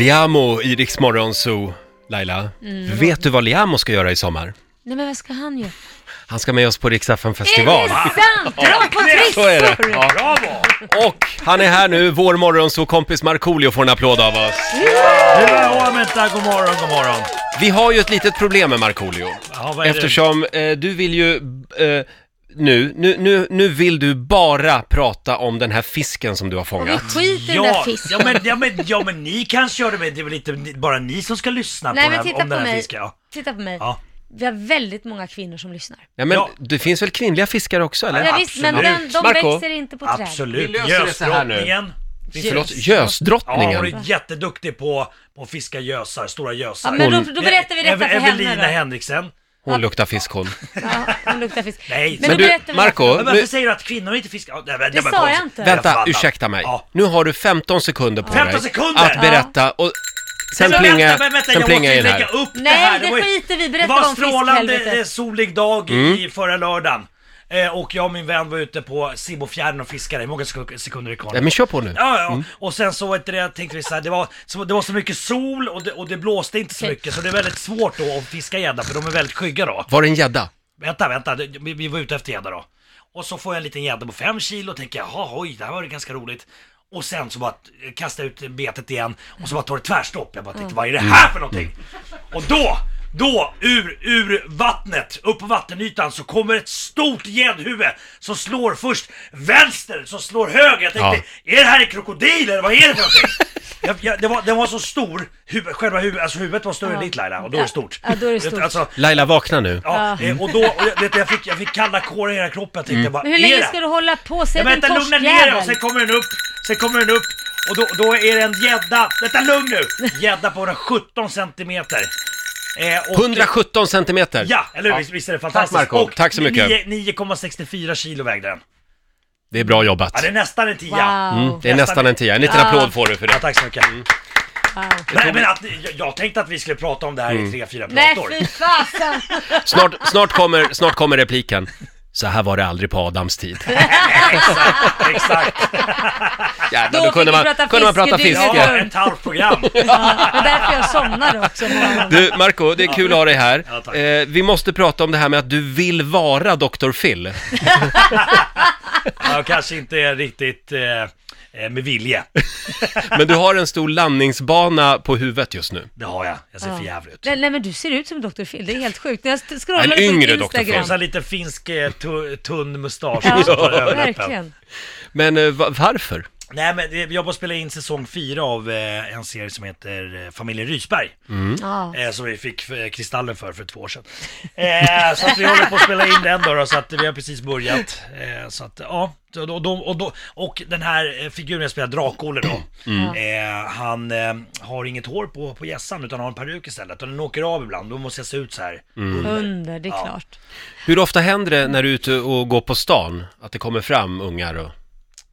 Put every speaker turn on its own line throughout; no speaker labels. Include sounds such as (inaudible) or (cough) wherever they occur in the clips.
Liamo i Rix Morgon Zoo. Laila,
Mm.
vet du vad Liamo ska göra i sommar?
Nej men vad ska han göra?
Han ska med oss på Rix FM
Är
festival.
det sant? Dra på
(laughs) Så är det.
trissor!
Ja. Och han är här nu, vår morgonsokompis Markoolio får en applåd av oss.
Hurra, vänta, god morgon, god morgon.
Vi har ju ett litet problem med Markoolio.
Ja, vad är det?
Eftersom eh, du vill ju... Eh, nu, nu, nu, nu vill du bara prata om den här fisken som du har
Och vi
fångat.
skiter i den där
Ja, ja,
fisken.
men, ja, men, ja men ni kanske gör det med, det är väl inte ni- bara ni som ska lyssna
Nej
på,
men
den, här-
titta
om
på
den här
mig.
fisken. Ja.
Titta på mig.
Ja.
Vi har väldigt många kvinnor som lyssnar.
Ja, men
Ja.
det finns väl kvinnliga fiskare också, eller?
Ja, visst, men
absolut.
den, de
Marco?
växer inte på träd.
Absolut,
Vi löser det så här nu.
Gösdrottningen.
Yes.
Förlåt,
Ja, hon
gösdrottningen?
är jätteduktig på på att fiska gösar, stora gösar.
Ja, men då,
Hon-
då berättar vi detta för
Eve-
henne
Evelina
då.
Henriksen.
Hon luktar fisk hon.
Ja, hon luktar fisk.
Nej,
men,
Men
då
du,
berättar vi
Marco,
Men varför
nu,
säger du att kvinnor inte fiskar? Ja, nej, men-
Det
nej, men
sa jag
konstigt.
inte.
Vänta,
Förbannat.
ursäkta mig.
Ja.
Nu har du 15 sekunder på
15
dig
sekunder?
att berätta och sen
Men
plingar
Alltså, vänta, men vänta,
sen
jag
plingar
måste ju
jag in
lägga
här.
upp det
Nej,
här.
det
var ju-
skiter vi.
Det
Berätta
var
om
en strålande
fiskhelvetet.
eh, solig dag
Mm.
i förra lördagen. Eh, och jag och min vän var ute på Simofjärden och fiskade. Hur många sek- sekunder är det kvar?
Ja, men Mm. kör på nu.
Ja, ja. Och sen så vet du, det, tänkte vi så här, det var, så, det var så mycket sol och det, och det blåste inte så
Okej.
mycket så det är väldigt svårt då att fiska gädda för de är väldigt skygga då.
Var det en gädda?
Vänta, vänta, det- vi, vi var ute efter gädda då. Och så får jag en liten gädda på 5 kilo och tänker jaha, oj, det här var ju ganska roligt. Och sen så bara eh, kastar jag ut betet igen och så bara tar det tvärstopp. Jag bara tänkte,
Mm.
vad är det här för någonting? Och då, då, ur, ur vattnet, upp på vattenytan så kommer ett stort gäddhuvud som slår först vänster, som slår höger. Jag tänkte, är det här en krokodil eller vad är det för någonting? jag, jag, det, var, det var så stor, huvud, själva huvudet, alltså huvudet var större än ditt Laila och då är det stort.
Ja, då är det stort.
Alltså,
Laila, vakna nu.
Ja, eh, och då, och jag, vet, du, jag, fick, jag fick kalla kårar i hela kroppen, jag tänkte bara,
Men Mm. hur
är
länge
det?
ska du hålla på? Säg
Ja,
att en
vänta, lugna ner dig och sen
torskjävel.
kommer den upp, sen kommer den upp och då, då är det en gädda, vänta lugn nu! Gädda på 117 centimeter. Eh, och-
117 centimeter.
Ja, eller hur? Visst- Visst är det fantastiskt?
Marco.
Och
Tack så mycket.
9- 9,64 kilo vägde den.
Det är bra jobbat.
Ja, det är nästan en tia.
Wow.
Det är nästan en tia. En liten
Ja.
applåd får du för
Ja,
Mm. det.
tack så mycket.
wow.
Nej, men att, jag, jag tänkte att vi skulle prata om det här
Mm.
i tre, fyra
Nej
prator.
fy fasen!
Snart, snart, kommer, snart kommer repliken. Så här var det aldrig på Adams
(laughs)
tid.
Exakt.
Jävlar,
Då
då kunde
fick vi
man,
prata
kunde man prata
fiskedyr.
fiske.
Ja, ett
(laughs)
halvt program.
Ja, det är därför jag somnade också många gånger.
Du, Marco, det är kul att ha dig här.
Ja, tack.
eh, vi måste prata om det här med att du vill vara Dr. Phil.
Jag kanske inte är riktigt eh, eh, med vilje.
Men du har en stor landningsbana på huvudet just nu.
Det har jag. Jag ser
Ja.
för jävligt ut.
Nej, nej men du ser ut som Dr. Phil, det är helt sjukt. När jag st- scrollade på
yngre
ditt
Dr. Phil.
Instagram.
Och så här lite finsk eh, tu- tunn mustasch (laughs)
Ja,
också på överläppen.
verkligen.
Men eh, va- varför?
Nej men eh, jag bara spelar in säsong fyra av eh, en serie som heter eh, Familjen Rysberg.
Ja.
Eh, som vi fick eh, Kristallen för för två år sedan. Eh, så att vi håller på att spela in den då, då så att vi har precis börjat. Eh, så att ja, och, då, då, och, då, och den här eh, figuren jag spelar, Drak-Olle då.
Mm.
Eh, han eh, har inget hår på, på hjässan utan har en peruk istället. Och den åker av ibland, då måste jag se ut så här.
Mm. Under, det är
Ja.
klart.
Hur ofta händer det när du är ute och går på stan att det kommer fram ungar? Och...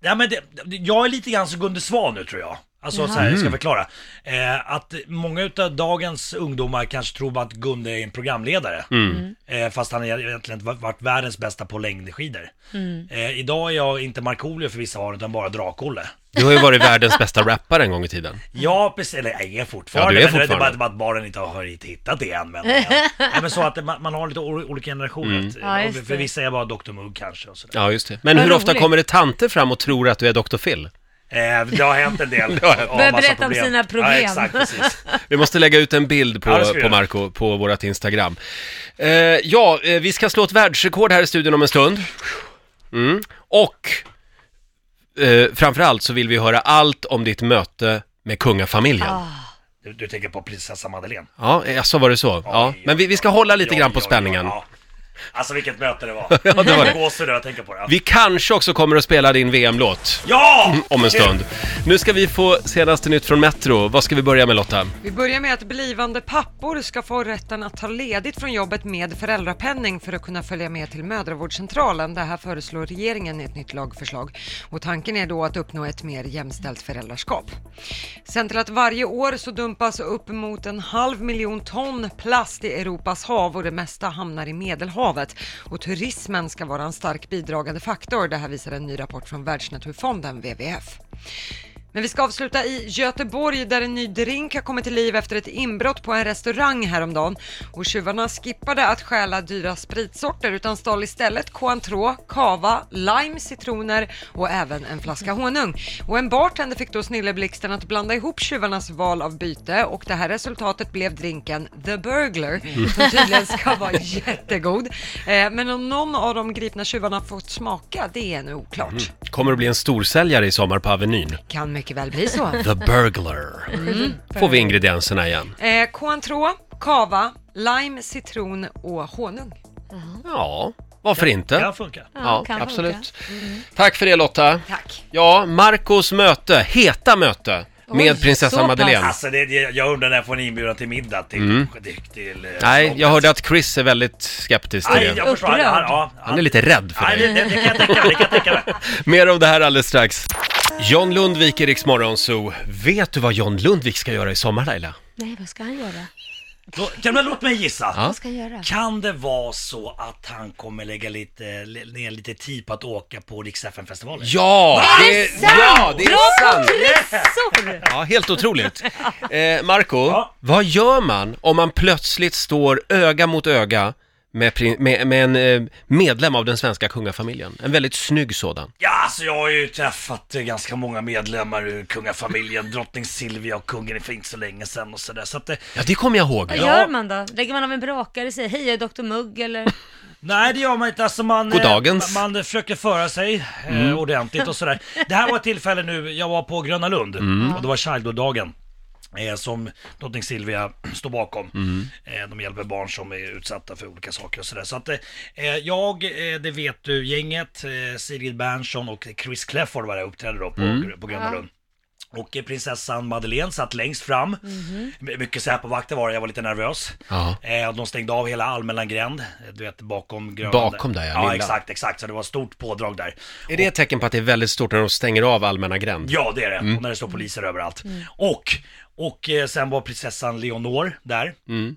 Ja, men det, det- jag är lite grann som Gunde Svan nu tror jag. Alltså så här, jag ska
Mm.
förklara. Eh, att många utav dagens ungdomar kanske tror bara att Gunde är en programledare.
Mm.
Eh, fast han har egentligen inte varit världens bästa på längdskidor.
Mm.
Eh, idag är jag inte Markoolio för vissa år utan bara Drak-Olle.
Mm.
Du har ju varit världens bästa rappare en gång i tiden.
Ja, precis. Eller jag är fortfarande.
Ja, du är
men det- Det är bara,
fortfarande.
det är bara att barnen inte har hit- hittat det
(laughs)
än. Men, Nej, men så att det- man, man har lite o- olika generationer.
Mm. Ja,
Eh,
just
för
det.
vissa är jag bara Dr Mugg kanske. Och sådär.
Ja, just det. Men
Vad
hur ofta
roligt.
kommer det tanter fram och tror att du är Dr. Phil?
Eh, det har hänt
(laughs)
en del. Ja,
Börja
massa
berätta om sina problem.
Ja, exakt, precis.
Vi måste lägga ut en bild på,
Ja, det ska vi
på
göra.
Marco på vårt Instagram. Eh, ja, eh, vi ska slå ett världsrekord här i studion om en stund. Mm. Och eh, framförallt så vill vi höra allt om ditt möte med kungafamiljen.
Du, du tänker på prinsessa Madeleine?
Ja, eh, så var det så. Ja. Men vi, vi ska hålla lite
Ja,
grann på
ja,
spänningen.
ja, ja. Alltså vilket möte det var.
(laughs) Ja, det var det.
Gåshud när jag tänker på det.
Vi kanske också kommer att spela din VM-låt
Ja!
om en stund. Nu ska vi få senaste nytt från Metro. Vad ska vi börja med Lotta?
Vi börjar med att blivande pappor ska få rätten att ta ledigt från jobbet med föräldrapenning för att kunna följa med till mödravårdscentralen. Det här föreslår regeringen i ett nytt lagförslag och tanken är då att uppnå ett mer jämställt föräldraskap. Sen till att varje år så dumpas upp mot en halv miljon ton plast i Europas hav och det mesta hamnar i Medelhavet och turismen ska vara en stark bidragande faktor. Det här visar en ny rapport från Världsnaturfonden WWF. Men vi ska avsluta i Göteborg där en ny drink har kommit till liv efter ett inbrott på en restaurang häromdagen. Och tjuvarna skippade att stjäla dyra spritsorter utan stal istället Cointreau, cava, lime, citroner och även en flaska honung. Och en bartender fick då snilleblixten att blanda ihop tjuvarnas val av byte och det här resultatet blev drinken The Burglar som tydligen ska vara jättegod. Eh, Men om någon av de gripna tjuvarna fått smaka, det är nu oklart.
Kommer att bli en storsäljare i sommar på Avenyn.
Kan mycket väl bli så.
The Burglar. Får vi ingredienserna igen.
Eh, Cointreau, cava, lime, citron och honung.
Ja, varför inte?
Kan funka.
Ja,
kan
absolut. Tack för det Lotta.
Tack.
Ja, Marcos möte, heta möte med
Oj,
prinsessan
så
Madeleine.
pass.
Alltså det, det- jag undrar när jag får en inbjudan till middag till... till, till eh,
Mm. Nej,
Stockholm.
jag hörde att Chris är väldigt skeptisk till
Nej,
det.
jag förstår. Han, han, ja,
Han är lite rädd för
Nej,
dig.
det, det, det kan jag tänka mig, det kan jag tänka mig.
(laughs) Mer om det här alldeles strax. John Lundvik i Rix Morgon Zoo. Vet du vad John Lundvik ska göra i sommar Laila?
Nej, vad ska han göra?
Då, kan, men låt mig gissa.
Ja.
Vad ska han göra?
Kan det vara så att han kommer lägga lite, le- ner lite tid på att åka på Rix festivalen
Ja! Det, ja, det
Bra
är sant!
portressor!
Ja, helt otroligt. Eh, Marco,
Ja.
vad gör man om man plötsligt står öga mot öga med, prin- med, med en eh, medlem av den svenska kungafamiljen? En väldigt snygg sådan.
Ja, alltså jag har ju träffat eh, ganska många medlemmar ur kungafamiljen, drottning Silvia och kungen för inte så länge sedan och sådär. Så att eh, det,
Ja, det kommer jag ihåg.
Vad
Ja.
gör man då? Lägger man av en brakare och säger hej jag är Dr Mugg eller?
nej det gör man inte, alltså man, eh,
Goddagens.
man, man försöker föra sig eh, ordentligt och sådär. Det här var ett tillfälle nu, jag var på Gröna Lund och det var Childhood-dagen. eh, som drottning Silvia står bakom. Eh, de hjälper barn som är utsatta för olika saker och sådär. Så att eh, jag, eh, det vet du, gänget, eh, Sigrid Bernson och Chris Clefford var där och uppträdde då på, på Gröna Lund. Och eh, prinsessan Madeleine satt längst fram. My- Mycket Säpo-vakter var det, jag var lite nervös.
Ja.
Eh, och de stängde av hela Allmänna gränd, eh, du vet bakom Gröna
Bakom där, ja,
ja. Ja,
lilla.
exakt, exakt. Så det var stort pådrag där.
Är det ett tecken på att det är väldigt stort när de stänger av allmänna gränd?
Ja, det är det.
Mm.
Och när det står poliser överallt.
Mm.
Och, och eh, sen var prinsessan Leonor där.
Mm.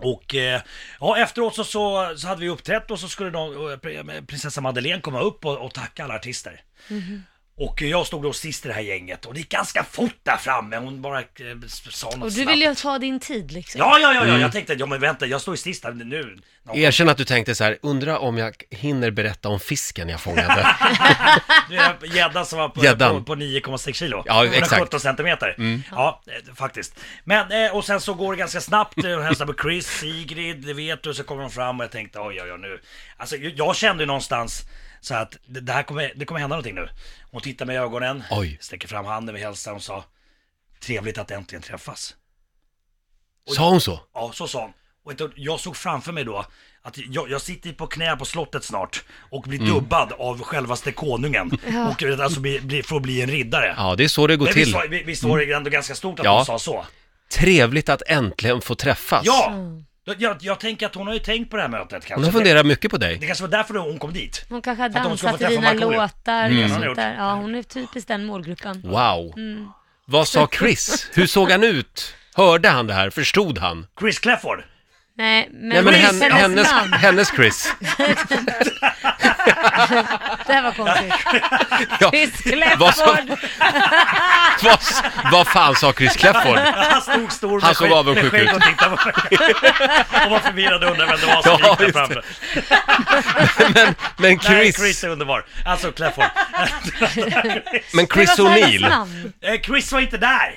Och eh, ja, efteråt så, så, så hade vi uppträtt och så skulle de, eh, pr- prinsessa Madeleine komma upp och, och tacka alla artister.
Mm-hmm.
Och eh, jag stod då sist i det här gänget och det gick ganska fort där framme. Hon bara eh, s- sa något
Och du
snabbt.
vill ju ta din tid liksom.
Ja, ja, ja, ja.
Mm.
jag tänkte, ja men vänta, jag står ju sist här nu. Ja,
Erkänn att du tänkte så här, undra om jag hinner berätta om fisken jag
(laughs)
fångade.
Det är Gäddan som var på,
Gäddan.
på, på 9,6 kilo.
Ja, exakt. Mm.
117 centimeter. Ja, eh, faktiskt. Men, eh, och sen så går det ganska snabbt. eh, Hon hälsar på Chris, Sigrid, det vet du. Så kommer de fram och jag tänkte oj, oj, oj nu. Alltså jag- jag kände ju någonstans så att det det här kommer, det kommer hända någonting nu. Hon tittar mig i ögonen,
Oj.
sträcker fram handen, vi hälsar och sa Trevligt att äntligen träffas.
Sa hon så?
Ja, så sa hon. Och ett- jag såg framför mig då att jag, jag sitter på knä på slottet snart och blir
Mm.
dubbad av självaste konungen. Och eh, alltså bli, bli, får bli en riddare.
Ja, det är så det går
Men vi
till.
sa, vi, vi sa det ändå ganska stort att
Ja. Alltså.
hon sa så.
Trevligt att äntligen få träffas.
Ja! Jag, jag, jag tänker att hon har ju tänkt på det här mötet kanske.
Hon har funderat mycket på dig.
Det, det kanske var därför hon kom dit.
Hon kanske har
För att de ska få
dansat till
träffa
dina
Markoolio.
låtar och
hon har gjort.
sånt där. Ja, hon är typiskt den målgruppen.
Wow.
Mm.
Vad sa Chris? Hur såg han ut? Hörde han det här? Förstod han?
Chris Clefford.
Nej, men,
Nej, men hen,
prinsessans
hennes,
namn.
hennes
(laughs)
Chris.
Det här var
(laughs)
konstigt.
Ja.
Chris
Vad, sa,
Clefford.
vad, vad fan sa Chris
(laughs)
Clefford?
Han stod stor
Han såg
skägg-
avundsjuk
med skägg
ut.
och tittade på mig.
(laughs)
Hon var förvirrad (laughs) och undrade vem det var som
Ja,
gick där
just
framme.
Men, men
Nej,
Chris,
Chris är underbar. Alltså Clefford.
men Chris
Det var så hennes
O'Neill.
namn. Eh.
Eh, Chris var inte där!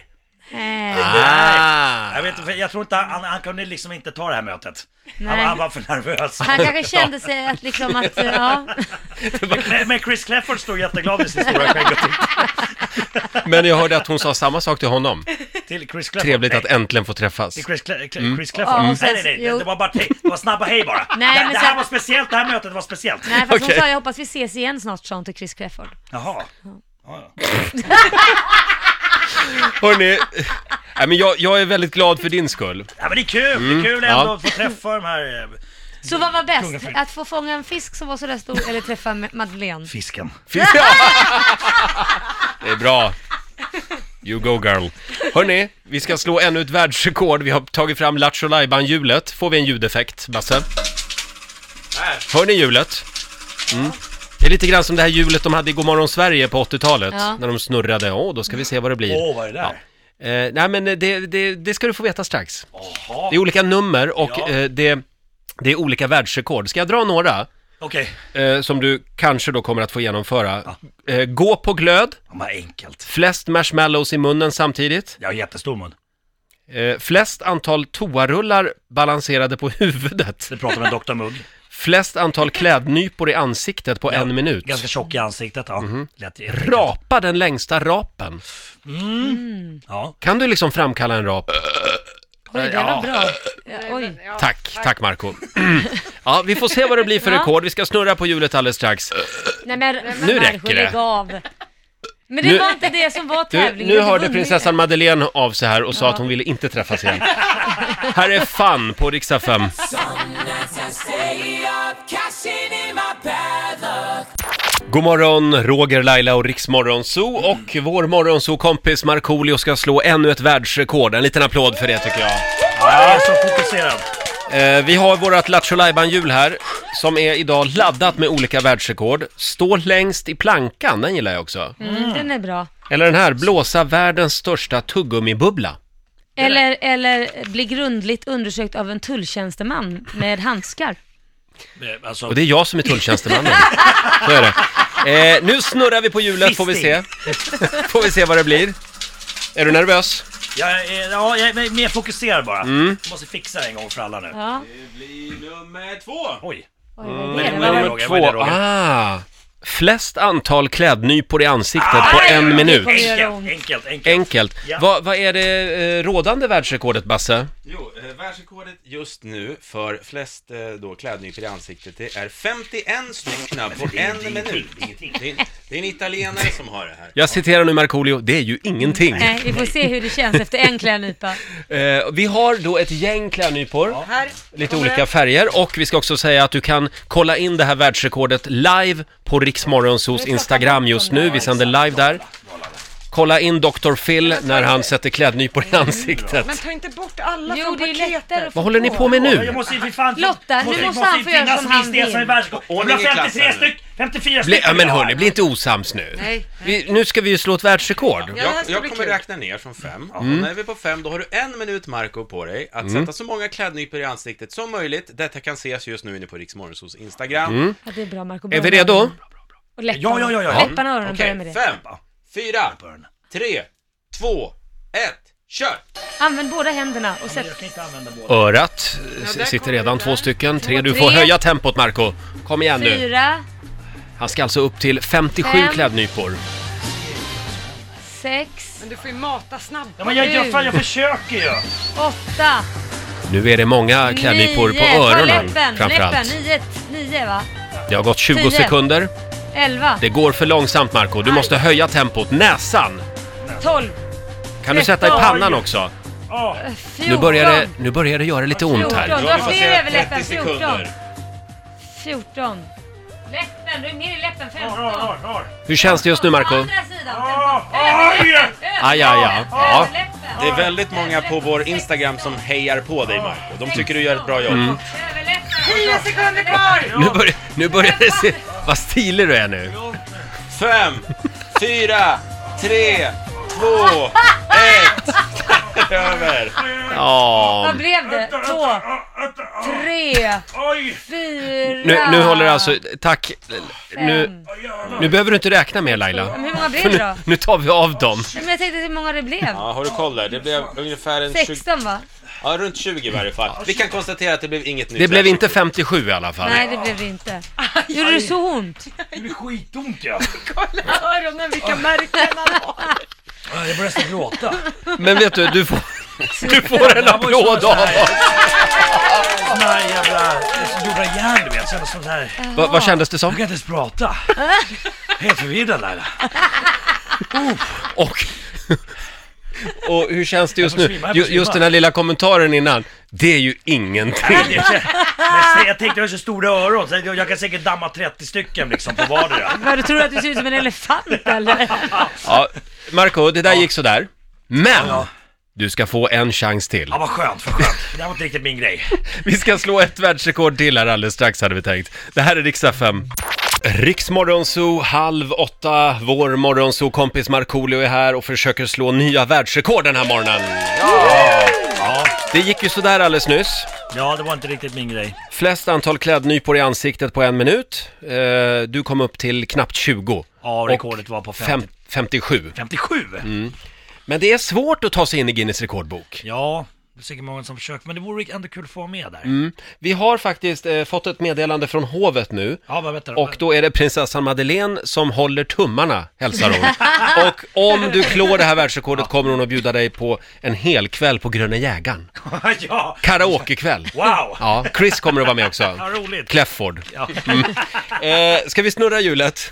Nej.
Ah.
Jag, vet, inte, för jag tror inte, han, han kunde liksom inte ta det här mötet. Han,
Nej.
han var för nervös.
Han kanske kände sig att liksom att,
(laughs)
ja.
Men- Men Chris Clefford stod jätteglad i sin stora skägg och tittade
Men jag hörde att hon sa samma sak till honom.
till Chris Clefford.
Trevligt
Nej.
att Mm. äntligen få träffas.
Till Chris, Cle- Cle- Chris Clefford?
Ja, och
Nej,
sen-
nej, nej,
jo.
det var bara hej, det var snabba hej bara.
Nej,
det,
men
det här
sen-
var speciellt, det här mötet var speciellt.
Nej, fast
Okej.
hon sa jag hoppas vi ses igen snart, sa hon till Chris Clefford.
Jaha. Ja, ja.
Hörni, nej, men jag, jag är väldigt glad för din skull.
ja men det är kul, det är kul
Mm. ja.
ändå att få träffa de här eh,
Så vad var bäst?
Kungafamilj.
Att få fånga en fisk som var sådär stor eller träffa Ma- Madeleine?
fisken.
Fy- (laughs) Ja. Det är bra. You go girl. Hörni, vi ska slå ännu ett världsrekord. Vi har tagit fram Lattjo Lajban-hjulet. Får vi en ljudeffekt, Basse? Hör ni hjulet? Mm. Det är lite grann som det här hjulet de hade i Godmorgon Sverige på 80-talet.
Ja.
När de snurrade. Åh, då ska vi se vad det blir.
Åh, vad är det där?
Eh, nej, men det, det, det ska du få veta strax.
Jaha,
Det är olika nummer och
Ja.
eh, det, det är olika världsrekord. Ska jag dra några?
okej.
Eh, som du kanske då kommer att få genomföra. Eh, gå på glöd,
Ja, men enkelt.
flest marshmallows i munnen samtidigt.
Jag har jättestor mun.
Eh, flest antal toarullar balanserade på (laughs) huvudet.
Det pratar med Dr. Mugg.
Flest antal klädnypor i ansiktet på en minut. Mhm.
Ganska tjock i ansiktet, ja. Lätt enkelt.
Rapa den längsta rapen.
Ja.
Kan du liksom framkalla en rap?
Oj, det var bra. Ja, oj.
Ja.
Tack, tack Marco. (clears throat) ja, vi får se vad det blir för
Ja.
rekord. Vi ska snurra på hjulet alldeles strax.
Nej men, men
Nu
Marco,
räcker det.
lägg av. Men det
Nu-
var inte det som var
Du, nu
tävlingen. Du
hörde
vunnit.
prinsessan Madeleine av sig här och sa att hon ville inte träffas
(laughs)
igen. här är Fan på riksdag 5. God morgon, Roger, Laila och Riksmorgon Zoo och vår morgonzoo-kompis Markoolio ska slå ännu ett världsrekord. En liten applåd för det tycker jag.
Jag är så fokuserad.
Eh, vi har vårt Lattjo Lajban-hjul här, som är idag laddat med olika världsrekord. Stå längst i plankan, den gillar jag också.
Mm, den är bra.
Eller den här, blåsa världens största tuggummibubbla.
Eller, eller bli grundligt undersökt av en tulltjänsteman med handskar.
Eh, Alltså,
Och det är jag som är tulltjänstemannen. Så är det. Eh, nu snurrar vi på hjulet, får vi se. får vi se vad det blir. Är du nervös?
jag, är, ja, jag är mer fokuserad bara.
Mm.
Jag måste fixa det en gång för alla nu.
Ja.
Nummer två!
Oj.
Oj,
Mm.
vad
Men-
är det?
men-
Vad-
Roger, vad är det, Roger?
Ah, flest antal klädnypor i ansiktet
Ah!
på en minut.
kommer göra
Enkelt,
ont.
enkelt, enkelt.
Enkelt.
Ja.
Vad vad är det eh, rådande världsrekordet, Basse?
Jo, eh, världsrekordet just nu för flest eh, då klädnypor i ansiktet, det är 51 stycken på en minut. Det är, en- det är en italienare som har det här.
Jag citerar nu Markoolio, det är ju ingenting.
Nej, vi får se hur det känns efter en klädnypa.
Eh, vi har då ett gäng klädnypor,
Här
lite
kommer
olika färger och vi ska också säga att du kan kolla in det här världsrekordet live på Riksmorgonsos Instagram just nu. Vi sänder live där. Kolla in Dr. Phil när han sätter klädnypor i ansiktet.
Men ta inte bort alla
Jo,
från
det är
paketet.
lättare att få
Vad håller ni på med
Jag
nu?
måste ju för fan...
Lotta, nu måste han få göra som han vill.
Ordning
Ordning
i
i
klassen nu.
53 styck, 54
Bli,
styck.
ja, men hörni, bli inte osams nu.
Nej,
Vi, nu ska vi ju slå ett världsrekord.
Ja, det här
Jag,
ska
jag
bli
kommer
kul.
räkna ner från fem. Och när vi är på fem, då har du en minut, Marco, på dig att sätta så många klädnypor i ansiktet som möjligt. Detta kan ses just nu inne på Riksmorgonsos Instagram.
Ja, det är bra, Marco.
Är
Börja
vi
med
redo?
öronen. Och läpparna.
Ja, ja, ja, ja.
Läpparna och öronen,
Okej,
börja med det.
fem, fyra, tre, två, ett, kör!
Använd båda händerna och sätt...
Jag kan inte använda båda.
Örat eh,
där
s- sitter
kommer
redan
det
två
där.
stycken. Tre, du
tre.
får höja tempot Marco. Kom igen nu.
Fyra,
Han ska alltså upp till 57
Fem.
klädnypor.
sex,
men du får ju mata snabbt.
Ja, men jag, jag, fan, jag försöker ju.
åtta,
Nu är det många klädnypor
nio.
på
Ta
öronen
läppen, läppen.
framförallt.
Nio, nio va?
Det har gått 20
Tio.
sekunder.
Elva,
Det går för långsamt Marco. Du måste höja tempot. Näsan!
tolv, eh,
Kan du sätta i
Tretton.
pannan också?
Ja,
fjorton.
Nu börjar det, nu börjar det göra lite ont här.
Fjorton. Du har
passerat
fler överläppar.
30
Fjorton.
sekunder.
Fjorton. Läppen, rör ner i läppen.
rar,
Femton.
rar, rar.
Hur känns det just nu Marco?
Andra sidan.
Ja,
femton.
Aj!
Aj, aj, aj. Ja.
Överläppen.
Det är väldigt många på vår Instagram som hejar på dig, Marco. De tycker du gör ett bra jobb.
Mm.
Överläppen.
Tio sekunder kvar!
Nu börjar, nu börjar det se... Vad stilig du är nu.
Fem, fyra, tre, två, ett! (laughs) Över!
Ja.
Vad blev det? Två, tre,
Oj!
fyra.
Nu, nu håller det alltså... Tack. Nu,
fem.
nu behöver du inte räkna mer Laila.
Men hur många blev
För
det
nu,
då?
nu tar vi av dem.
Men jag tänkte hur många det blev.
Ja, har du koll där? Det blev ungefär en 20,
16 va?
ja, runt 20 i varje fall. Vi kan konstatera att det blev inget nytt.
Det blev inte 57 i alla fall.
Nej det blev det inte. Gjorde det så ont?
Det blir skitont ja.
Kolla öronen, vilka märken han har.
Ja, Jag börjar nästan gråta.
Men vet du,
(laughs)
du får, du får en applåd av oss.
Sån här jävla... det är som Gjorda av järn du vet. Så jävla sån här... Jag
Va, vad kändes det som?
kan inte ens prata. Helt förvirrad Laila.
Och, (laughs) och hur känns det just
Jag får
nu?
svimma, jag får
Ju,
svimma.
just den här lilla kommentaren innan. Det är ju ingenting.
Men se, jag tänkte jag har så stora öron så jag jag kan säkert damma 30 stycken liksom på vardera.
Vad, du tror att du ser ut som en elefant
(laughs)
eller?
Ja, Marco, det där gick sådär. Men
Ja.
du ska få en chans till.
Ja vad skönt, vad skönt. Det här var inte riktigt min grej.
Vi ska slå ett världsrekord till här alldeles strax hade vi tänkt. Det här är riksdag 5. Riksmorgonzoo, halv åtta, vår morgonzoo-kompis Markoolio är här och försöker slå nya världsrekord den här morgonen.
Ja,
Det gick ju sådär alldeles nyss.
ja, det var inte riktigt min grej.
Flest antal klädnypor i ansiktet på en minut. Eh, Du kom upp till knappt 20.
Ja,
Och
rekordet var på 50.
Fem, 57.
57?
Men det är svårt att ta sig in i Guinness rekordbok.
Ja, det är säkert många som försöker, men det vore ändå kul att få vara med där.
Vi har faktiskt eh, fått ett meddelande från hovet nu.
Ja, men vänta.
Och då är det prinsessan Madeleine som håller tummarna, hälsar
(laughs)
hon. Och om du klår det här världsrekordet kommer hon att bjuda dig på en hel kväll på Gröna Jägaren.
(laughs) ja,
Karaokekväll.
wow!
Ja, Chris kommer att vara med också.
Vad roligt.
Clefford.
Ja.
Eh, ska vi snurra hjulet?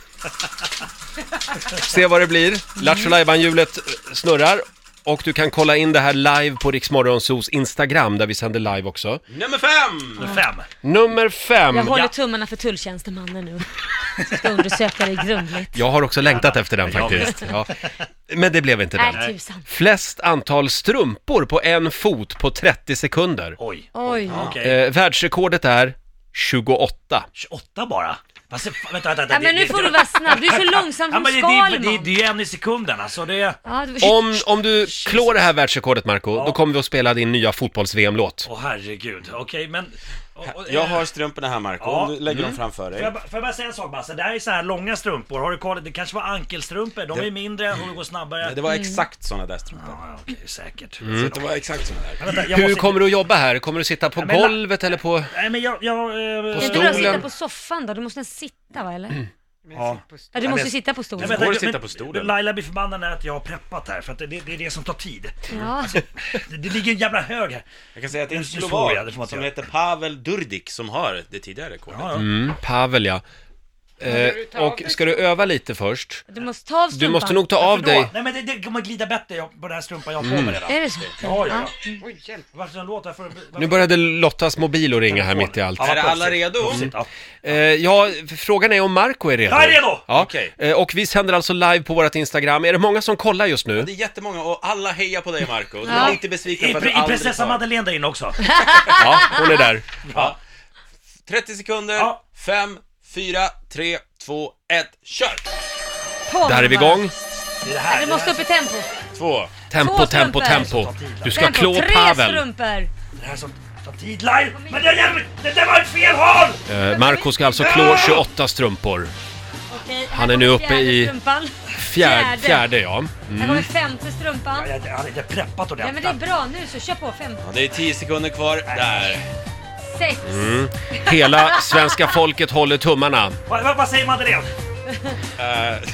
Se vad det blir. Lattjo Lajban-hjulet eh, snurrar. Och du kan kolla in det här live på Riksmorgonsos Instagram där vi sänder live också.
Nummer fem!
Fem.
Nummer fem.
Jag håller
Ja.
tummarna för tulltjänstemannen nu. Jag Ska undersöka det grundligt.
Jag har också längtat efter den
Ja.
faktiskt. Ja. Men det blev inte den.
Nej, tusan.
Flest antal strumpor på en fot på 30 sekunder.
Oj.
Oj.
Okej.
Eh, världsrekordet är 28.
28 bara. Fast, det- vänta, vänta, vänta.
Ja, men nu får du vara snabb. Du är så långsam
Ja,
som
men det, det, det, det,
Skalman.
det är ju en i sekunden alltså. Det...
Ja, det var-
Om, om du klår det här världsrekordet, Marco, då kommer vi att spela din nya fotbolls-VM-låt.
Åh herregud. Okej, men... och- och-
Jag
eh,
har strumporna här Marco,
Ja. Mm.
om du lägger dem framför
Får
dig.
jag, ba- får jag bara säga en sak Basse? Det här är så här långa strumpor, har du koll? Det kanske var ankelstrumpor, de är mindre och de går snabbare.
Det var exakt såna där strumpor.
Ja, okej, säkert.
Så det var exakt såna där.
Vänta, jag
Hur
måste...
kommer du att jobba här? Kommer du sitta på
men-
golvet eller på...
Nej men jag... jag eh,
På
Kan inte du bara sitta
stolen. Mm.
på soffan då? Du måste nästan sitta va, eller?
Ja.
Ja, du måste
men-
sitta på stolen.
Nej,
Går det
men-
att sitta
men-
på stolen?
Laila blir förbannad när att jag har preppat här, för att det, det är det som tar tid.
Ja.
Det, det ligger en jävla hög här.
Jag kan säga att det är en
Just det, så ja, det får man
slovak som
säga.
heter Pavel Durdik som har det tidigare rekordet.
Ja, ja.
Mm, Pavel, ja. Eh, och ska du öva lite först?
Du måste ta av
Du
strumpan.
måste nog ta av
Då-
dig...
Nej men det, det kommer glida bättre jag- på den här strumpan jag har på mig redan.
Är det så?
Ja, ja, ja.
Oj, hjälp.
Varför den låter? För, varför...
Nu började Lottas mobil att ringa här mitt i allt.
Är alla redo?
Ja.
Eh, ja, frågan är om Marco är redo.
Jag är redo!
Ja.
Okej.
Eh, och vi sänder alltså live på vårt Instagram. Är det många som kollar just nu?
Det är jättemånga och alla hejar på dig Marco. Du
Ja.
är inte besviken
Är,
för att du
är
aldrig
prinsessa
tar.
Madeleine där inne också?
Ja, hon är där.
30 sekunder,
Ja.
5, 4, 3, 2, 1, kör!
Där är vi igång.
Det är det här.
Du måste upp i tempo.
2.
Tempo,
Två
tempo,
strumpor.
tempo. Du ska
tempo.
klå
Tre
Pavel.
strumpor.
Det här som tar tid, Laila! Men det, där- det där var ett fel håll!
Eh, Marco ska alltså klå 28 strumpor.
Okej, här
Han är nu
kommer
uppe
fjärde
i- Mm.
Strumpan.
Fjärde, fjärde ja.
Här kommer femte strumpan.
Jag jag hade inte preppat
Nej men
ordentligt.
det är bra nu så kör på. Fem,
Ja, det är 10 sekunder kvar. Där.
sex.
Hela svenska folket håller tummarna.
Vad, vad, vad säger Madeleine?
Eh,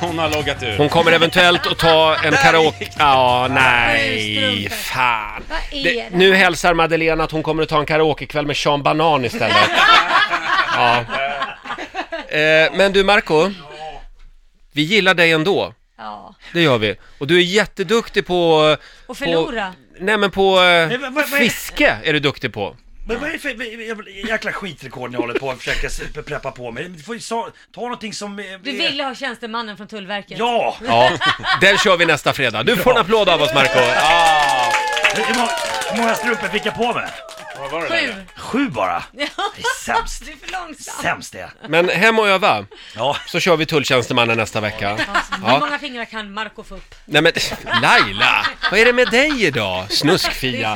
hon har loggat ur.
Hon kommer eventuellt att ta en karaoke... Ja, nej,
strumpor.
fan.
Vad är
Det,
det?
nu hälsar Madeleine att hon kommer att ta en karaokekväll med Sean Banan
(laughs)
istället. Ja. Eh, men du Marco, vi gillar dig ändå.
Ja.
Det gör vi. Och du är jätteduktig på...
Och förlora.
På, nej men på... eh,
Men vad- vad- vad-
Fiske är du duktig på.
Men vad är det för jävla- jäkla skitrekord ni håller på att försöka s- preppa på med? Du får ju sa- ta någonting som... eh,
Du
eh,
ville ha tjänstemannen från Tullverket.
Ja!
Ja, den kör vi nästa fredag. Du får en applåd av oss Marco.
Ah,
Hur, hur många- hur många strumpor fick jag på mig?
vad var det där?
Sju.
Sju bara?
Ja,
Det är sämst.
(laughs) du är för långsam.
Sämst det.
Men hem och öva,
Ja.
så kör vi Tulltjänstemannen nästa vecka.
Hur många fingrar kan Marco få upp?
Nej men Laila, vad är det med dig idag?
Det
Snuskfia.
är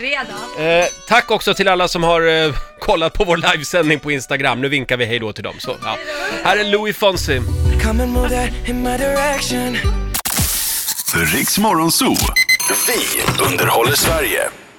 fredag.
Eh, tack också till alla som har eh, kollat på vår livesändning på Instagram. Nu vinkar vi hej då till dem. Så, ja. Här är Louis Fonsi.
Come and move that in my direction.
Riks Morgonzoo. Vi underhåller Sverige.